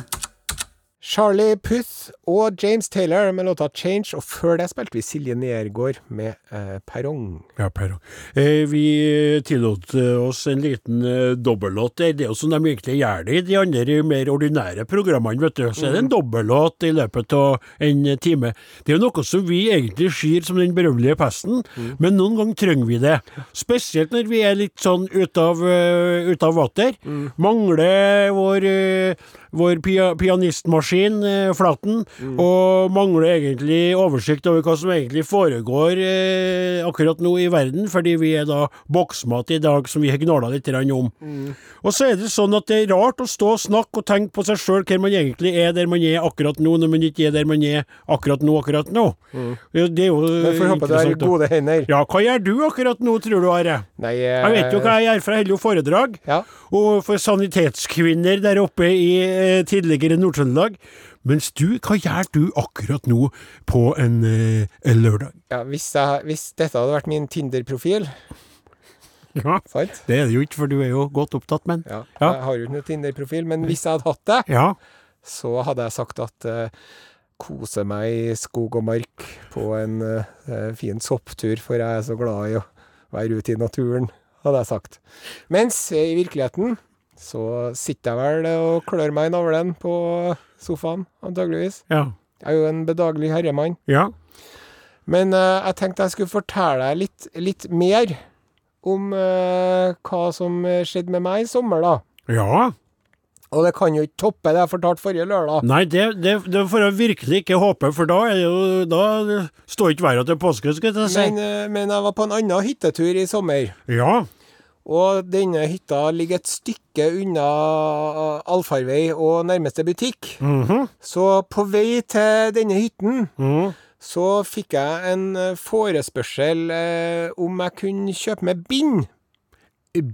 Charlie Puth og James Taylor med låta 'Change', og før det spilte vi Silje Nergård med eh, 'Perrong'. Ja, Per. Eh, vi tillot eh, oss en liten eh, dobbellåt. der. Det er jo som de egentlig gjør det i de andre mer ordinære programmene, vet du. Så er det Mm. en dobbellåt i løpet av en eh, time. Det er jo noe som vi egentlig skyr som den berømmelige pesten, Mm. men noen ganger trenger vi det. Spesielt når vi er litt sånn ut av, eh, ut av vater. Mm. Mangler vår, eh, vår pia pianistmaskin, eh, Flaten, Mm. og mangler egentlig oversikt over hva som egentlig foregår eh, akkurat nå i verden, fordi vi er da boksmat i dag som vi har gnåla litt grann om. Mm. Og så er det sånn at det er rart å stå og snakke og tenke på seg sjøl hvor man egentlig er der man er akkurat nå, når man ikke er der man er akkurat nå, akkurat nå. Ja, Det er jo Vi Mm. får håpe det er i interessant, da. gode hender. Ja, hva gjør du akkurat nå, tror du, Are? Nei, eh, Jeg vet jo hva jeg gjør, for jeg holder jo foredrag. Ja. Og for sanitetskvinner der oppe i eh, tidligere Nord-Trøndelag. Mens du, hva gjør du akkurat nå på en, eh, en lørdag? Ja, hvis, jeg, hvis dette hadde vært min Tinder-profil, Ja. sant? Det er det jo ikke, for du er jo godt opptatt, men. Ja, Ja. Jeg har jo ikke noen Tinder-profil, men hvis jeg hadde hatt det, Ja. så hadde jeg sagt at eh, kose meg i skog og mark på en eh, fin sopptur, for jeg er så glad i å være ute i naturen, hadde jeg sagt. Mens eh, i virkeligheten så sitter jeg vel og klør meg i navlen på sofaen, antageligvis. Ja. Jeg er jo en bedagelig herremann. ja. Men eh, jeg tenkte jeg skulle fortelle deg litt, litt mer om eh, hva som eh, skjedde med meg i sommer, da. Ja. Og det kan jo ikke toppe det jeg fortalte forrige lørdag. Nei, det, det, det får jeg virkelig ikke håpe, for da er det jo Da står ikke været til påske, skal jeg si. Men, eh, men jeg var på en annen hyttetur i sommer, Ja. og denne hytta ligger et stykke unna eh, allfarvei og nærmeste butikk. Mhm. Så på vei til denne hytten Mhm. så fikk jeg en eh, forespørsel eh, om jeg kunne kjøpe meg bind.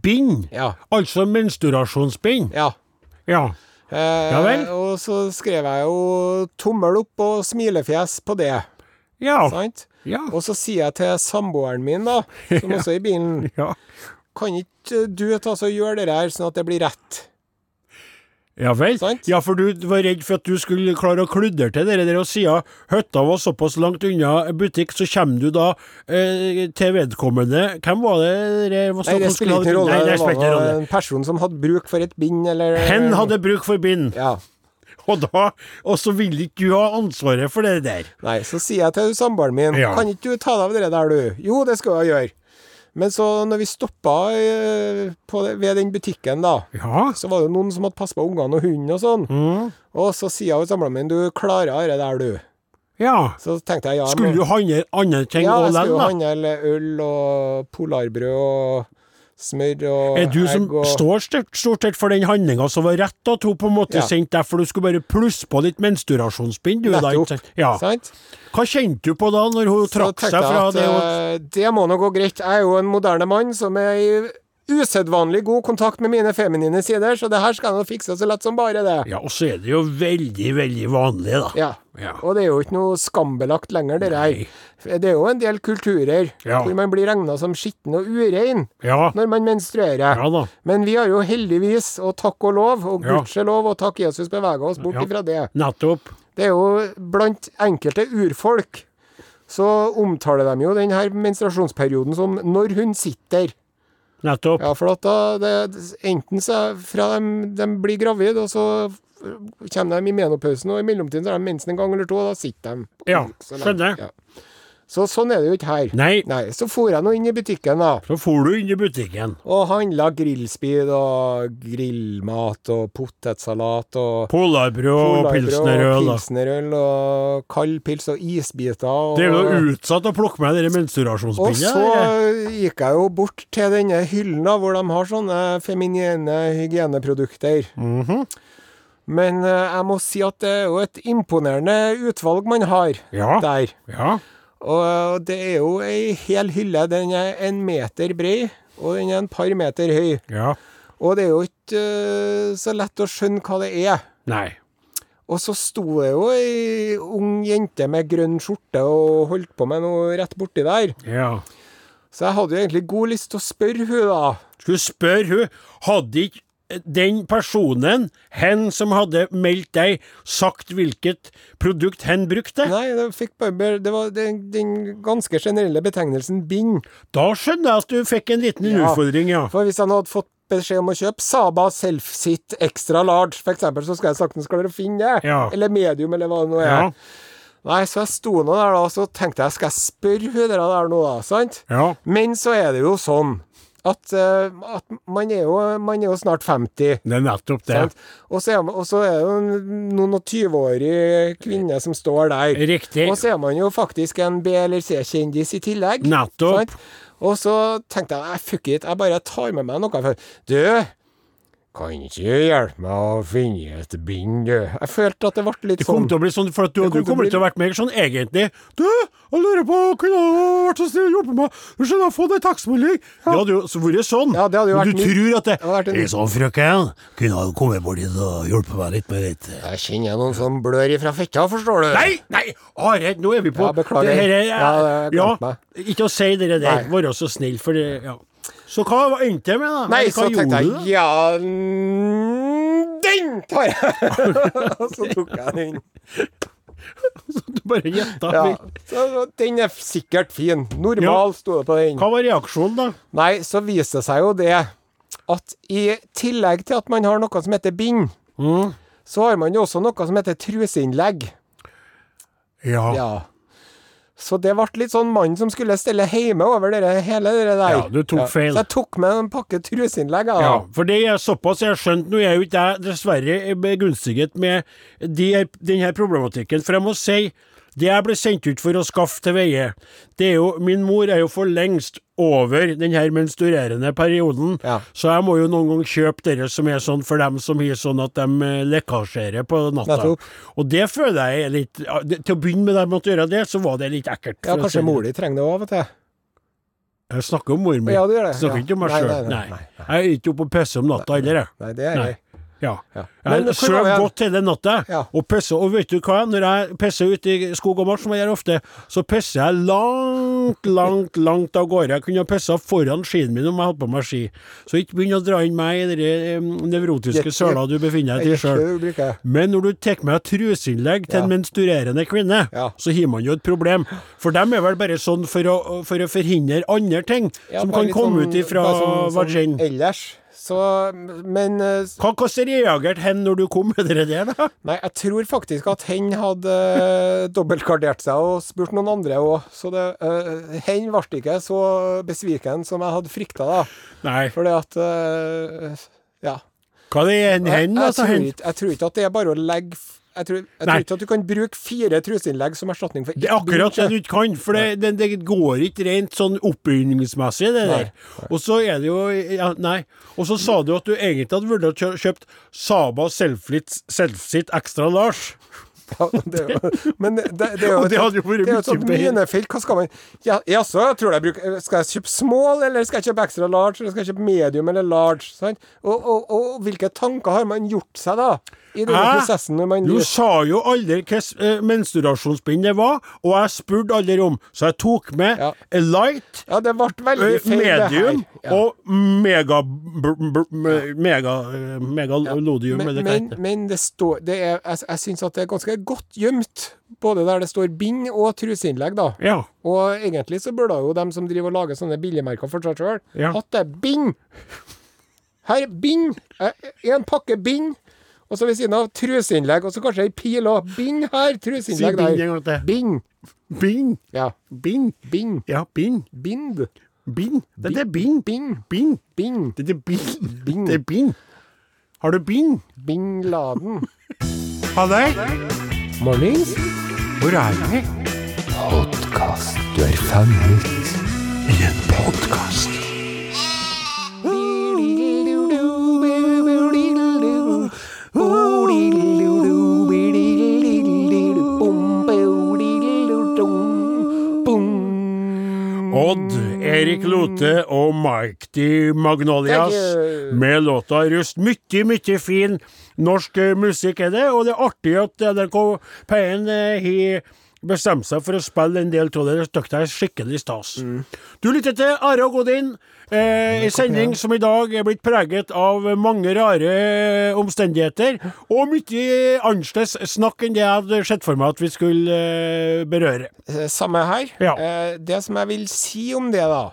Bind. Ja. Altså menstruasjonsbind. ja. Ja. Eh, Ja vel. Og så skrev jeg jo tommel opp og smilefjes på det. Ja. Sant? Ja. Og så sier jeg til samboeren min, da, [laughs] som også er i bilen, ja. kan ikke du ta så gjøre det her, sånn at det blir rett? Ja vel? Sant? Ja, for du var redd for at du skulle klare å kludre til dere der, og siden hytta var såpass langt unna butikk, så kommer du da eh, til vedkommende Hvem var det dere var Nei, det som skulle spiller ha- ikke noen rolle. Nei, det det var spiller ikke nå rolle. en person som hadde bruk for et bind, eller eh, Hen hadde bruk for bind, Ja. og da Og så ville ikke du ha ansvaret for det der. Nei, så sier jeg til samboeren min, Ja. kan ikke du ta deg av det der, du? Jo, det skal jeg gjøre. Men så, når vi stoppa eh, på, ved den butikken, da, Ja. så var det jo noen som hadde passet på ungene og hunden og sånn. Mm. Og så sier jeg til samboeren min, du klarer det der, du. ja. Så tenkte jeg, ja, jeg må- Skulle du handle andre ting Ja, òg, jeg skulle jo lell, da? handle øl og polarbrød og smør og Er du som egg og står stort stort sett for den handlinga som var rett da, to på en måte Ja. sendt deg, for du skulle bare plusse på litt menstruasjonsbind, du, da? Ikke? Nettopp. sant? Ja. Sant? Hva kjente du på da, når hun Så trakk seg tenkte jeg fra at det? å- eh, det må nå gå greit. Jeg er jo en moderne mann som er i usedvanlig god kontakt med mine feminine sider, så det her skal jeg nå fikse så lett som bare det. Ja, og så er det jo veldig, veldig vanlig, da. Ja. Ja. Og det er jo ikke noe skambelagt lenger, det Nei. der. Det er jo en del kulturer Ja. hvor man blir regna som skitten og urein Ja. når man menstruerer. Ja da. Men vi har jo heldigvis, og takk og lov, og Ja. gudskjelov, og takk Jesus bevega oss bort Ja. ifra det. Nettopp. Det er jo blant enkelte urfolk så omtaler de jo denne menstruasjonsperioden som 'når hun sitter'. Nettopp. Ja, for at da det, Enten så er fra de, de blir gravid, og så kommer de i menopausen, og i mellomtiden så har de mensen en gang eller to, og da sitter de. Ja, Så lenge. skjønner. Ja. Så sånn er det jo ikke her. Nei. Så for jeg nå inn i butikken, da. Så for du inn i butikken. Og handla grillspyd og grillmat og potetsalat og Polarbrød og polarbrød pilsnerøl. da. pilsnerøl og kald pils og isbiter. Og, Det er jo utsatt å plukke med den og menstruasjonspinna. så eller? gikk jeg jo bort til denne hyllen da, hvor de har sånne feminine hygieneprodukter. Men eh, jeg må si at det er jo et imponerende utvalg man har Ja. der. Ja. Og det er jo ei hel hylle. Den er en meter brei, og den er en par meter høy. ja. Og det er jo ikke eh, så lett å skjønne hva det er. Nei. Og så sto det jo ei ung jente med grønn skjorte og holdt på med noe rett borti der. Ja. Så jeg hadde jo egentlig god lyst til å spørre hun da. Skulle spørre hun, hadde ikke den personen, hen som hadde meldt deg, sagt hvilket produkt hen brukte? Nei, det fikk bare be- Det var den, den ganske generelle betegnelsen bind. Da skjønner jeg at du fikk en liten Ja. utfordring, ja. For hvis han hadde fått beskjed om å kjøpe Saba Self-Sit Extra Large, for eksempel, så skal jeg sagt nå skal dere finne det. Ja. Eller medium, eller hva det nå er. Ja. Nei, så jeg sto nå der da, og så tenkte jeg, skal jeg spørre hun der, der nå da, sant? Ja. Men så er det jo sånn at, eh, at man, er jo, man er jo snart Det 50. er nettopp det. Sant? Og så er man- og så er det jo en- noen og 20-årig kvinne som står der. Riktig. Og så er man jo faktisk en B- eller C-kjendis i tillegg. Nettopp. Sant? Og så tenkte jeg, "Nei, fuck it, jeg bare tar med meg noe. For, du, kan ikke du hjelpe meg å finne et bind, du? Jeg følte at det ble litt Det kommer sånn. til å bli sånn, for at du, Det du kommer til å kommer bli- til å vært mer sånn egentlig Du, jeg lurer på, kunne du vært så snill å hjelpe meg? Du skjønner, jeg har fått ei tekstmelding. Det hadde jo så vært sånn. Ja, det hadde jo Men du vært nytt. tror at det hadde vært en- «Hei sann, frøken, kunne du komme bort hit og hjelpe meg litt med litt Jeg kjenner noen som blør ifra fetta, forstår du. Nei, nei, Are, nå er vi på Ja, beklager. Det her er, Ja, det- jeg ja, glemte meg. Ikke å si det der, Nei. være så snill, for det ja. Så hva var- endte det med, da? Nei, Eller hva så tenkte gjorde jeg, du da? ja, mm, den tar jeg! [laughs] Og så tok jeg den. Du bare gjetta. Ja, så den er sikkert fin. Normal, sto det på den. Hva var reaksjonen, da? Nei, så viser det seg jo det at i tillegg til at man har noe som heter bind, Mm. så har man jo også noe som heter truseinnlegg. Ja. ja. Ja. Så det ble litt sånn mannen som skulle stelle hjemme over dere, hele det der. Ja, du tok feil. Så jeg tok med en pakke truseinnlegg. jeg, da. for det er såpass jeg har skjønt. Nå er jo ikke jeg dessverre begunstiget med de, denne problematikken, for jeg må si det jeg ble sendt ut for å skaffe til veie, det er jo Min mor er jo for lengst over den her menstruerende perioden, Ja. så jeg må jo noen gang kjøpe dere som er sånn for dem som har sånn at de eh, lekkasjerer på natta. Nettopp. Og det føler jeg er litt ja, det- Til å begynne med, da jeg måtte gjøre det, så var det litt ekkelt. Ja, for å si kanskje det. mor di trenger det òg, vet du. Jeg snakker om mor mi. Ja, du gjør det. Snakker Ja. ikke om meg Nei, sjøl. nei, nei, Nei, Jeg er ikke oppe og pisser om natta heller, jeg. Nei, det er Nei. jeg. Ja. Ja. Men hvor Jeg var sover vi hen? godt hele natta. Ja. Og pisser, og vet du hva, når jeg pisser ute i skog og mark, som jeg gjør ofte, så pisser jeg langt, langt, langt av gårde. Jeg kunne ha pissa foran skien min om jeg hadde på meg ski. Så ikke begynn å dra inn meg i den nevrotiske Jeg- søla du befinner deg Jeg i sjøl. gjør ikke det, bruker jeg. Men når du tar med truseinnlegg til Ja. en menstruerende kvinne, Ja. så har man jo et problem. For dem er vel bare sånn for å, for å forhindre andre ting Ja, som kan bare litt komme sånn- ut ifra bare sånn- sånn vagin. Ellers, så Men eh, Hva hvordan reagerte hen når du kom med det der, da? Nei, jeg tror faktisk at hen hadde eh, dobbeltgardert seg og spurt noen andre òg. Så det, eh, hen ble ikke så besviken som jeg hadde frykta, da. Nei, Fordi at eh, Ja. hva det er en hen, jeg, altså? tror Hen? ikke, jeg tror ikke at det er bare å legge f- Jeg tror, jeg Nei. tror ikke at du kan bruke fire truseinnlegg som erstatning for Det er akkurat det du ikke kan, for det, det, det går ikke rent sånn oppbygningsmessig, det Nei, der. Og så er det jo ja, Nei. Og så sa du at du egentlig hadde vurdert å kjø- kjøpt Saba Selflit Selfsit Extra Lars. [laughs] Ja, det, er jo- men det, det er [laughs] jo Og det hadde jo vært det er jo et mye sånt bedre. minefelt. Hva skal man Ja, Jaså, jeg tror jeg bruker Skal jeg kjøpe small, eller skal jeg kjøpe extra large, eller skal jeg kjøpe medium eller large? Sant? Og, og, og, hvilke tanker har man gjort seg, da? I denne Hæ? prosessen når man Du sa jo aldri hvilket eh, menstruasjonsbind det var, og jeg spurte aldri om, så jeg tok med Ja. a light, Ja, det ble ø, veldig feil, Eh, medium det her. Ja. og mega br- br- me- mega eh, megalodium, men, eller hva men, heter det? men det står det er, Jeg, jeg syns at det er ganske godt gjemt, både der det står bind og truseinnlegg, da. Ja. Og egentlig så burde jo dem som driver og lager sånne billigmerker for seg sjøl, Ja. hatt det bind! Her, bind! Eh, En eh, pakke bind. og så ved siden av truseinnlegg, og så kanskje ei pil òg. Bind her, truseinnlegg bind der. en gang til. Bind. Bind. Ja. Bind. Bind. Ja, bind. Bind. Bind. Det er bind. Bind. Bind. Bind. Det er bind. Bind. Det er bind. Har du bind? Bin Laden. Ha det. Mornings. Hvor er vi? Podkast. Du er fanget i en podkast. Odd, Erik Lote og Mighty Magnolias Thank you. med låta Rust. Mykje, mykje fin norsk eh, musikk er det, og det er artig at NRK P1 eh, har bestemt seg for å spille en del av det. Det støkk er skikkelig stas. Du lytter til Are og Godin, eh, en sending som i dag er blitt preget av mange rare eh, omstendigheter, og mye annerledes snakk enn det jeg hadde sett for meg at vi skulle eh, berøre. Samme her. Ja. Eh, Det som jeg vil si om det, da,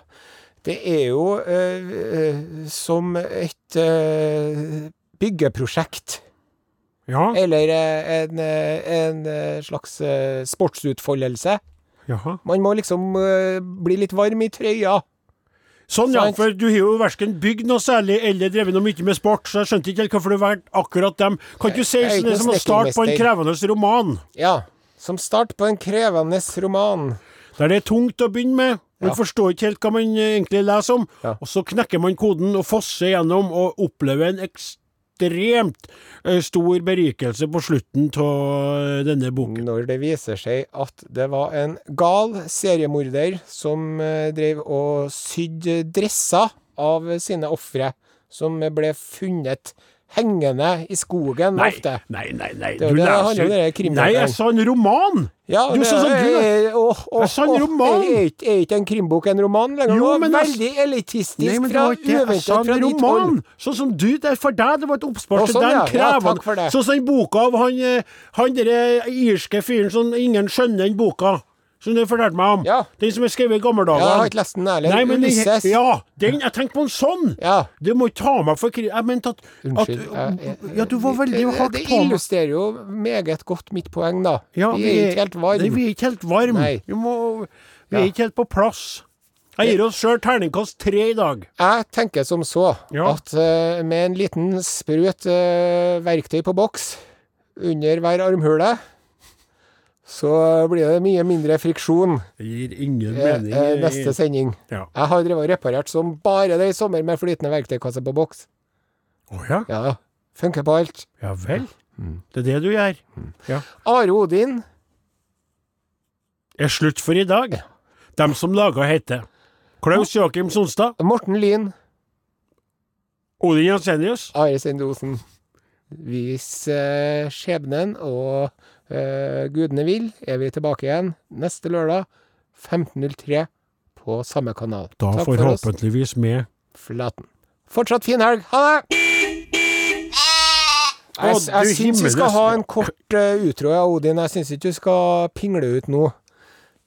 det er jo eh, eh, som et eh, byggeprosjekt. Ja, Eller eh, en, eh, en eh, slags eh, sportsutfoldelse. jaha. Man må liksom eh, bli litt varm i trøya. Sånn, ja, Sant. for du har jo verken bygd noe særlig eller drevet noe mye med sport, så jeg skjønte ikke helt hvorfor du valgte akkurat dem. Kan ikke du si Jeg sånn er ikke det noe som å starte på en snekkermester. krevende roman, Ja. Som start på en krevende roman. der det er tungt å begynne med, man Ja. forstår ikke helt hva man eh, egentlig leser om, Ja. og så knekker man koden og fosser gjennom og opplever en ekstremt eh, stor berikelse på slutten av eh, denne boken. Når det viser seg at det var en gal seriemorder som eh, drev og sydde dresser av sine ofre, som ble funnet hengende i skogen Nei, ofte. nei, nei, nei. Mm, Det er jo det det handler om, det er krimbøker. Nei, jeg sa en roman! Ja, Du det sa sånn, er- du- er- eh, åh, åh, Jeg sa en åh, sånn roman. Er er ikke er ikke en krimbok en roman lenger? Jo, Jo, men men jeg- Veldig elitistisk Nei, men det fra var ikke det. Jeg uventet sa fra en ditt hold. roman. Sånn som du, det er for deg, det var et oppspørsel. Å, sånn, den ja. Ja, krever- takk for det. Sånn som den boka av han, eh, han derre irske fyren som ingen skjønner den boka. Som du fortalte meg om. Ja. Den som er skrevet i gamle Ja, dager. jeg har ikke lest den heller. Nei, men den- Ulysses. Ja, den, jeg tenkte på en sånn. Ja. Du må ikke ta meg for kri... Jeg mente at, at Unnskyld. jeg- jeg- Ja, du var veldig det- hardt Det på meg. illustrerer jo meget godt mitt poeng, da. Ja, vi er ikke helt Nei, varme. Vi er ikke helt varme. Nei. Vi, må, vi Ja. er ikke helt på plass. Jeg gir oss sjøl terningkast tre i dag. Jeg tenker som så Ja. at eh, med en liten sprøt eh, verktøy på boks under hver armhule, så blir det mye mindre friksjon Det gir ingen eh, mening. eh, eh, neste sending. Ja. Jeg har drevet og reparert som bare det i sommer med flytende verktøykasse på boks. Å ja. Ja, ja. Funker på alt. Ja vel. Mm. Det er det du gjør. Are Odin, Er slutt for i dag. Dem som laga heter Klaus Joakim Sonstad, Morten Lyn, Odin Jensenius, Are Sendosen. Hvis eh, skjebnen og eh, gudene vil, er vi tilbake igjen neste lørdag 15.03 på samme kanal. da Takk for oss. forhåpentligvis med Flaten. Fortsatt fin helg. Ha det! Jeg, Å, du jeg syns vi skal himmelens- ha en kort uh, utråd av Odin. Jeg syns ikke du skal pingle ut nå.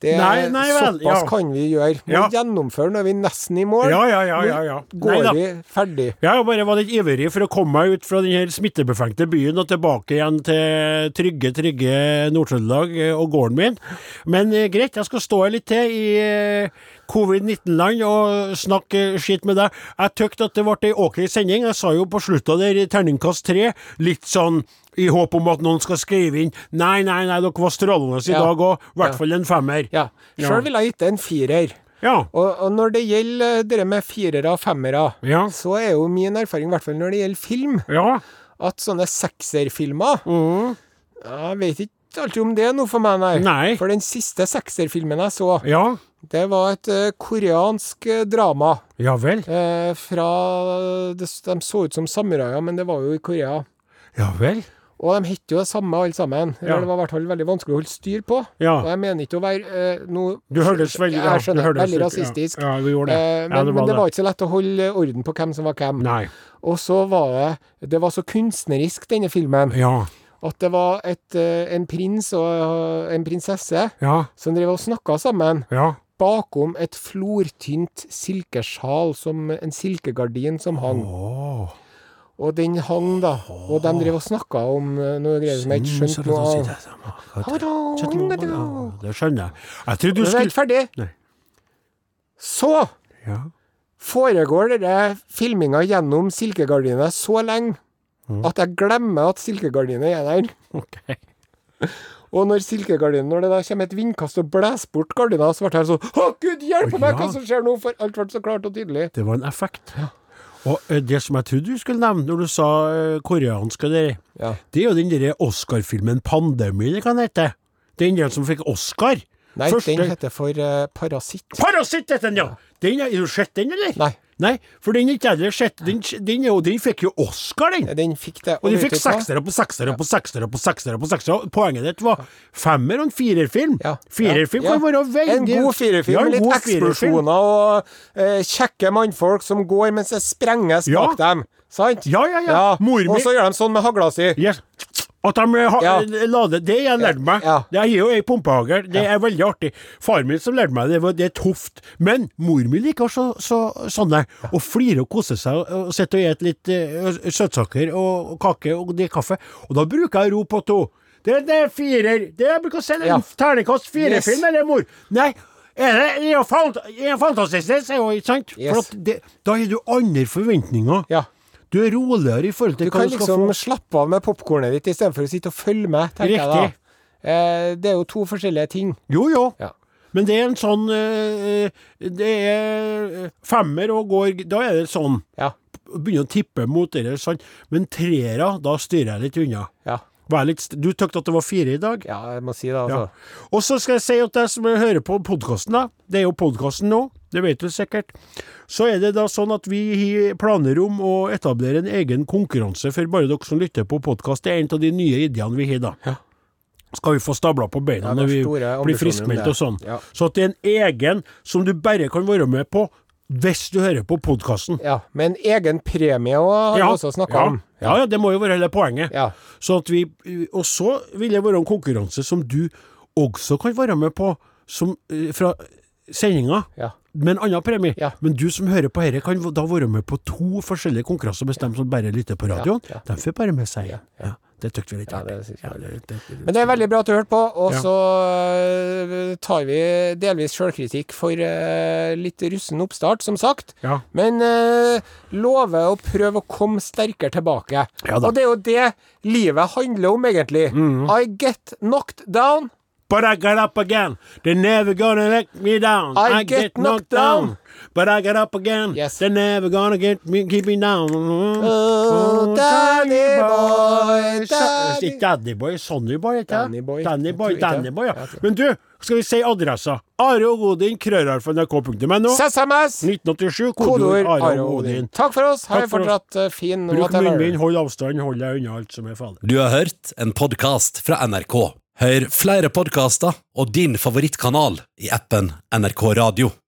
Det Nei, nei vel, Såpass ja. kan vi gjøre. Må Ja. gjennomføre når vi er nesten i mål. Ja, ja, ja, ja. ja. Går Neida. vi ferdig. Jeg bare var litt ivrig for å komme meg ut fra den her smittebefengte byen og tilbake igjen til trygge, trygge Nord-Trøndelag eh, og gården min. Men eh, greit, jeg skal stå her litt til i eh, covid-19-land og snakke eh, skitt med deg. Jeg tykte at det ble ei ok sending. Jeg sa jo på slutta der, i terningkast tre, litt sånn i håp om at noen skal skrive inn Nei, nei, nei, dere var strålende i Ja. dag òg. I Ja. hvert fall en femmer. Ja. Ja. Sjøl ville jeg gitt det en firer. Ja. Og, og når det gjelder eh, det med firere og femmere, Ja. så er jo min erfaring, i hvert fall når det gjelder film, Ja. at sånne sekserfilmer Jeg vet ikke alltid om det er noe for meg, nei. Nei. For den siste sekserfilmen jeg så, Ja. det var et eh, koreansk eh, drama. Ja vel. Eh, fra det, s- De så ut som samuraier, men det var jo i Korea. Ja vel. Og de het jo det samme, alle sammen. Ja. Eller Det var i hvert fall veldig vanskelig å holde styr på. Ja. Og jeg mener ikke å være eh, noe Du hørtes veldig ja, Jeg du skjønner, hørtes veldig ut, rasistisk. Ja, ja du gjorde det. Eh, men, ja, men det var ikke så lett å holde orden på hvem som var hvem. Nei. Og så var det Det var så kunstnerisk, denne filmen, Ja. at det var et, eh, en prins og eh, en prinsesse Ja. som drev og snakka sammen Ja. bakom et flortynt silkesjal, som en silkegardin som hang. Åh. Og den hang, da. Og de drev og snakka om eh, noe greier som jeg ikke skjønte noe av. Det skjønner jeg. Jeg trodde du Men jeg er ikke skulle ferdig. Nei. Så ja. foregår denne filminga gjennom silkegardina så lenge Mm. at jeg glemmer at silkegardina er der. OK. Og når silkegardinen, når det da kommer et vindkast og blåser bort gardina, så ble jeg sånn Å, gud hjelpe Å, meg, ja. hva som skjer nå? For alt ble så klart og tydelig. Det var en effekt. Og eh, det som jeg trodde du skulle nevne når du sa eh, koreansk og det der, Ja. det er jo den derre Oscar-filmen 'Pandemi' det kan hete. Den der som fikk Oscar. Nei, Første- den heter for eh, Parasitt. Parasitt heter den, ja! Den, er- har du sett den, eller? Nei. Nei, for den er ikke heller sett. Den, den, er jo- den fikk jo Oscar, den. Den fikk det. Og de vet fikk du hva? seksere på seksere på seksere på seksere på seksere. Poenget ditt var femmer og en firerfilm. Ja. Firerfilm Ja. kan være veldig En god firerfilm Ja, en med litt god firerfilm. eksplosjoner og eh, kjekke mannfolk som går mens det sprenges Ja. bak dem. Sant? Ja, ja, ja. Mor mi- Og så gjør de sånn med hagla si. Yes. At de eh, har, Ja. lader, det har jeg lærte meg. Ja. Det er jo ei pumpehagl. Det er veldig artig. Faren min som lærte meg det, var- det er tøft. Men mor mi liker så, så, sånne. Å flire og kose seg og- og sitte og spise litt eh, søtsaker og, og kake og drikke kaffe. Og da bruker jeg å rope på henne. Det, det er firer. Det jeg bruker å si det er Ja. en terningkast Yes. firefilm, eller, mor? Nei. Er det, det er jo fant- det er fantastisk, det er jo ikke sant? Yes. For at det, da har du andre forventninger. Ja. Du er roligere i forhold til Du hva kan du skal liksom få. slappe av med popkornet ditt istedenfor å sitte og følge med, tenker Riktig. jeg da. Eh, det er jo to forskjellige ting. Jo, jo. Ja. Men det er en sånn eh, Det er eh, femmer og går Da er det sånn. Ja. Begynner å tippe mot det der, sånn. Men treere, da styrer jeg litt unna. Ja. Vær litt, st- du tykte at det var fire i dag? ja jeg må si det, altså. Og så skal jeg si at jeg som hører på podkasten, da. Det er jo podkasten nå, det vet du sikkert. Så er det da sånn at vi har planer om å etablere en egen konkurranse for bare dere som lytter på podkast. Det er en av de nye ideene vi har, da. Skal vi få stabla på beina Ja, det er når vi store ambisjoner om blir friskmeldt det. og sånn. Ja. Så at det er en egen som du bare kan være med på hvis du hører på podkasten. Ja, men egen premie òg har vi også snakka ja. om. ja, ja, det må jo være hele poenget. Ja. Sånn at vi, og så vil det være en konkurranse som du også kan være med på som, eh, fra sendinga, Ja. med en annen premie. Ja. Men du som hører på dette, kan da være med på to forskjellige konkurranser hvis dem som bare lytter på radioen. Ja, De får bare med seg én. Ja, Det tykte vi litt Ja, det artig. synes jeg Ja, det- det- Men det er veldig bra at du hørte på, og Ja. så øh, tar vi delvis sjølkritikk for øh, litt russen oppstart, som sagt. Ja. Men øh, lover å prøve å komme sterkere tilbake. Ja da. Mhm. og det er jo det livet handler om, egentlig. I get knocked down. But I got up again. They're never gonna let me down. I get knocked down. But I got up again. Yes. They're never gonna get me, keep me down. Oh, Danny boy, Sa- Danny- Ikke Danny Boy, Sonny Boy. heter det? Danny Boy. Danny Boy, Jeg tror ikke Danny det. Boy, ja. Jeg tror Men du, skal vi si adressa? Are og Odin, krøralfa.nrk.no. SMS! 1987, Kodeord kodeord Are og Odin. Takk for oss. Ha Takk en for oss. fortsatt øh, fin Bruk whatever. munnbind, hold avstand, hold deg unna alt som er farlig. Du har hørt en podcast fra NRK. Hør flere podcaster og din favorittkanal i appen NRK Radio.